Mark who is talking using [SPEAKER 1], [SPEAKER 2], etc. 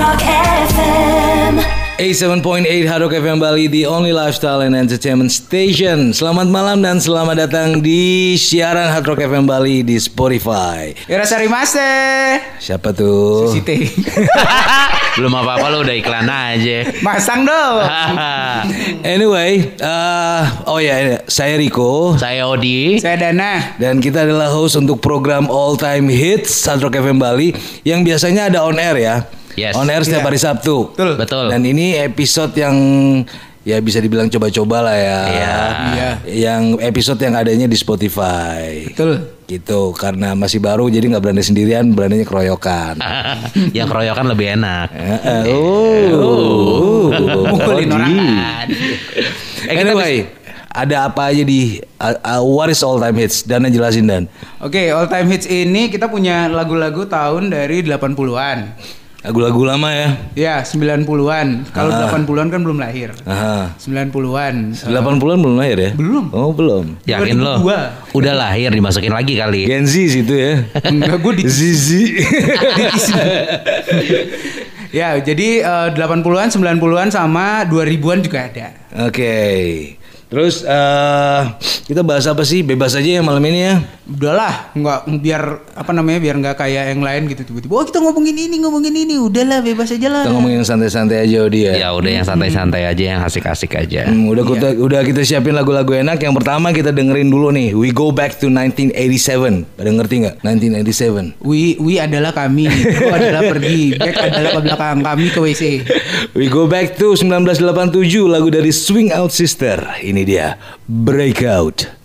[SPEAKER 1] Rock FM
[SPEAKER 2] 87.8 Hadok FM Bali The Only Lifestyle and Entertainment Station Selamat malam dan selamat datang di siaran Hard Rock FM Bali di Spotify
[SPEAKER 3] Yorosharimase
[SPEAKER 2] Siapa tuh?
[SPEAKER 3] Siti
[SPEAKER 4] Belum apa-apa lo udah iklan aja.
[SPEAKER 3] Masang dong
[SPEAKER 2] Anyway, eh, oh ya ini, saya Riko
[SPEAKER 4] Saya Odi.
[SPEAKER 3] Saya Dana
[SPEAKER 2] dan kita adalah host untuk program All Time Hits Hard Rock FM Bali yang biasanya ada on air ya.
[SPEAKER 4] Yes.
[SPEAKER 2] On air setiap
[SPEAKER 3] Iya.
[SPEAKER 2] hari Sabtu.
[SPEAKER 3] Betul.
[SPEAKER 4] Betul.
[SPEAKER 2] Dan ini episode yang ya bisa dibilang coba-coba lah ya.
[SPEAKER 4] Iya.
[SPEAKER 3] Iya.
[SPEAKER 2] Yang episode yang adanya di Spotify.
[SPEAKER 3] Betul
[SPEAKER 2] Gitu karena masih baru jadi nggak berani sendirian, beraninya keroyokan.
[SPEAKER 4] Ah, yang keroyokan lebih enak.
[SPEAKER 2] Eh, eh,
[SPEAKER 4] iya.
[SPEAKER 2] oh.
[SPEAKER 3] Mukulin
[SPEAKER 2] Oh,
[SPEAKER 3] orang
[SPEAKER 2] di.
[SPEAKER 3] kan
[SPEAKER 4] Eh, kita
[SPEAKER 2] Anyway, ada apa aja di uh, uh, What is All Time Hits? Dana jelasin Dan.
[SPEAKER 3] Oke all time hits ini kita punya lagu-lagu tahun dari 80-an
[SPEAKER 2] Lagu-lagu lama ya.
[SPEAKER 3] Ya 90-an Kalau 80-an kan belum lahir
[SPEAKER 2] Aha.
[SPEAKER 3] 90-an
[SPEAKER 2] 80-an belum lahir ya?
[SPEAKER 3] Belum.
[SPEAKER 2] Oh, belum.
[SPEAKER 4] Yakin lo?
[SPEAKER 3] 2002.
[SPEAKER 4] Udah lahir dimasukin lagi kali.
[SPEAKER 2] Gen Z situ ya.
[SPEAKER 3] Enggak gue Oh, di
[SPEAKER 2] Zizi.
[SPEAKER 3] Ya jadi eh, 80-an 90-an sama 2000-an juga ada
[SPEAKER 2] Oke. Terus eh kita bahas apa sih? Bebas aja ya malam ini ya.
[SPEAKER 3] udahlah nggak biar apa namanya biar nggak kayak yang lain gitu tiba-tiba oh kita ngomongin ini ngomongin ini udahlah bebas aja lah
[SPEAKER 2] Kita ngomongin yang santai-santai aja Odi ya.
[SPEAKER 4] Ya udah yang santai-santai aja, yang asik-asik aja.
[SPEAKER 2] Hmm, udah kita, udah kita siapin lagu-lagu enak. Yang pertama kita dengerin dulu nih. We go back to 1987. Pada ngerti nggak? 1987.
[SPEAKER 3] we we adalah kami go adalah pergi back adalah ke belakang kami ke wc
[SPEAKER 2] We go back to 1987 lagu dari Swing Out Sister. Ini dia. Breakout.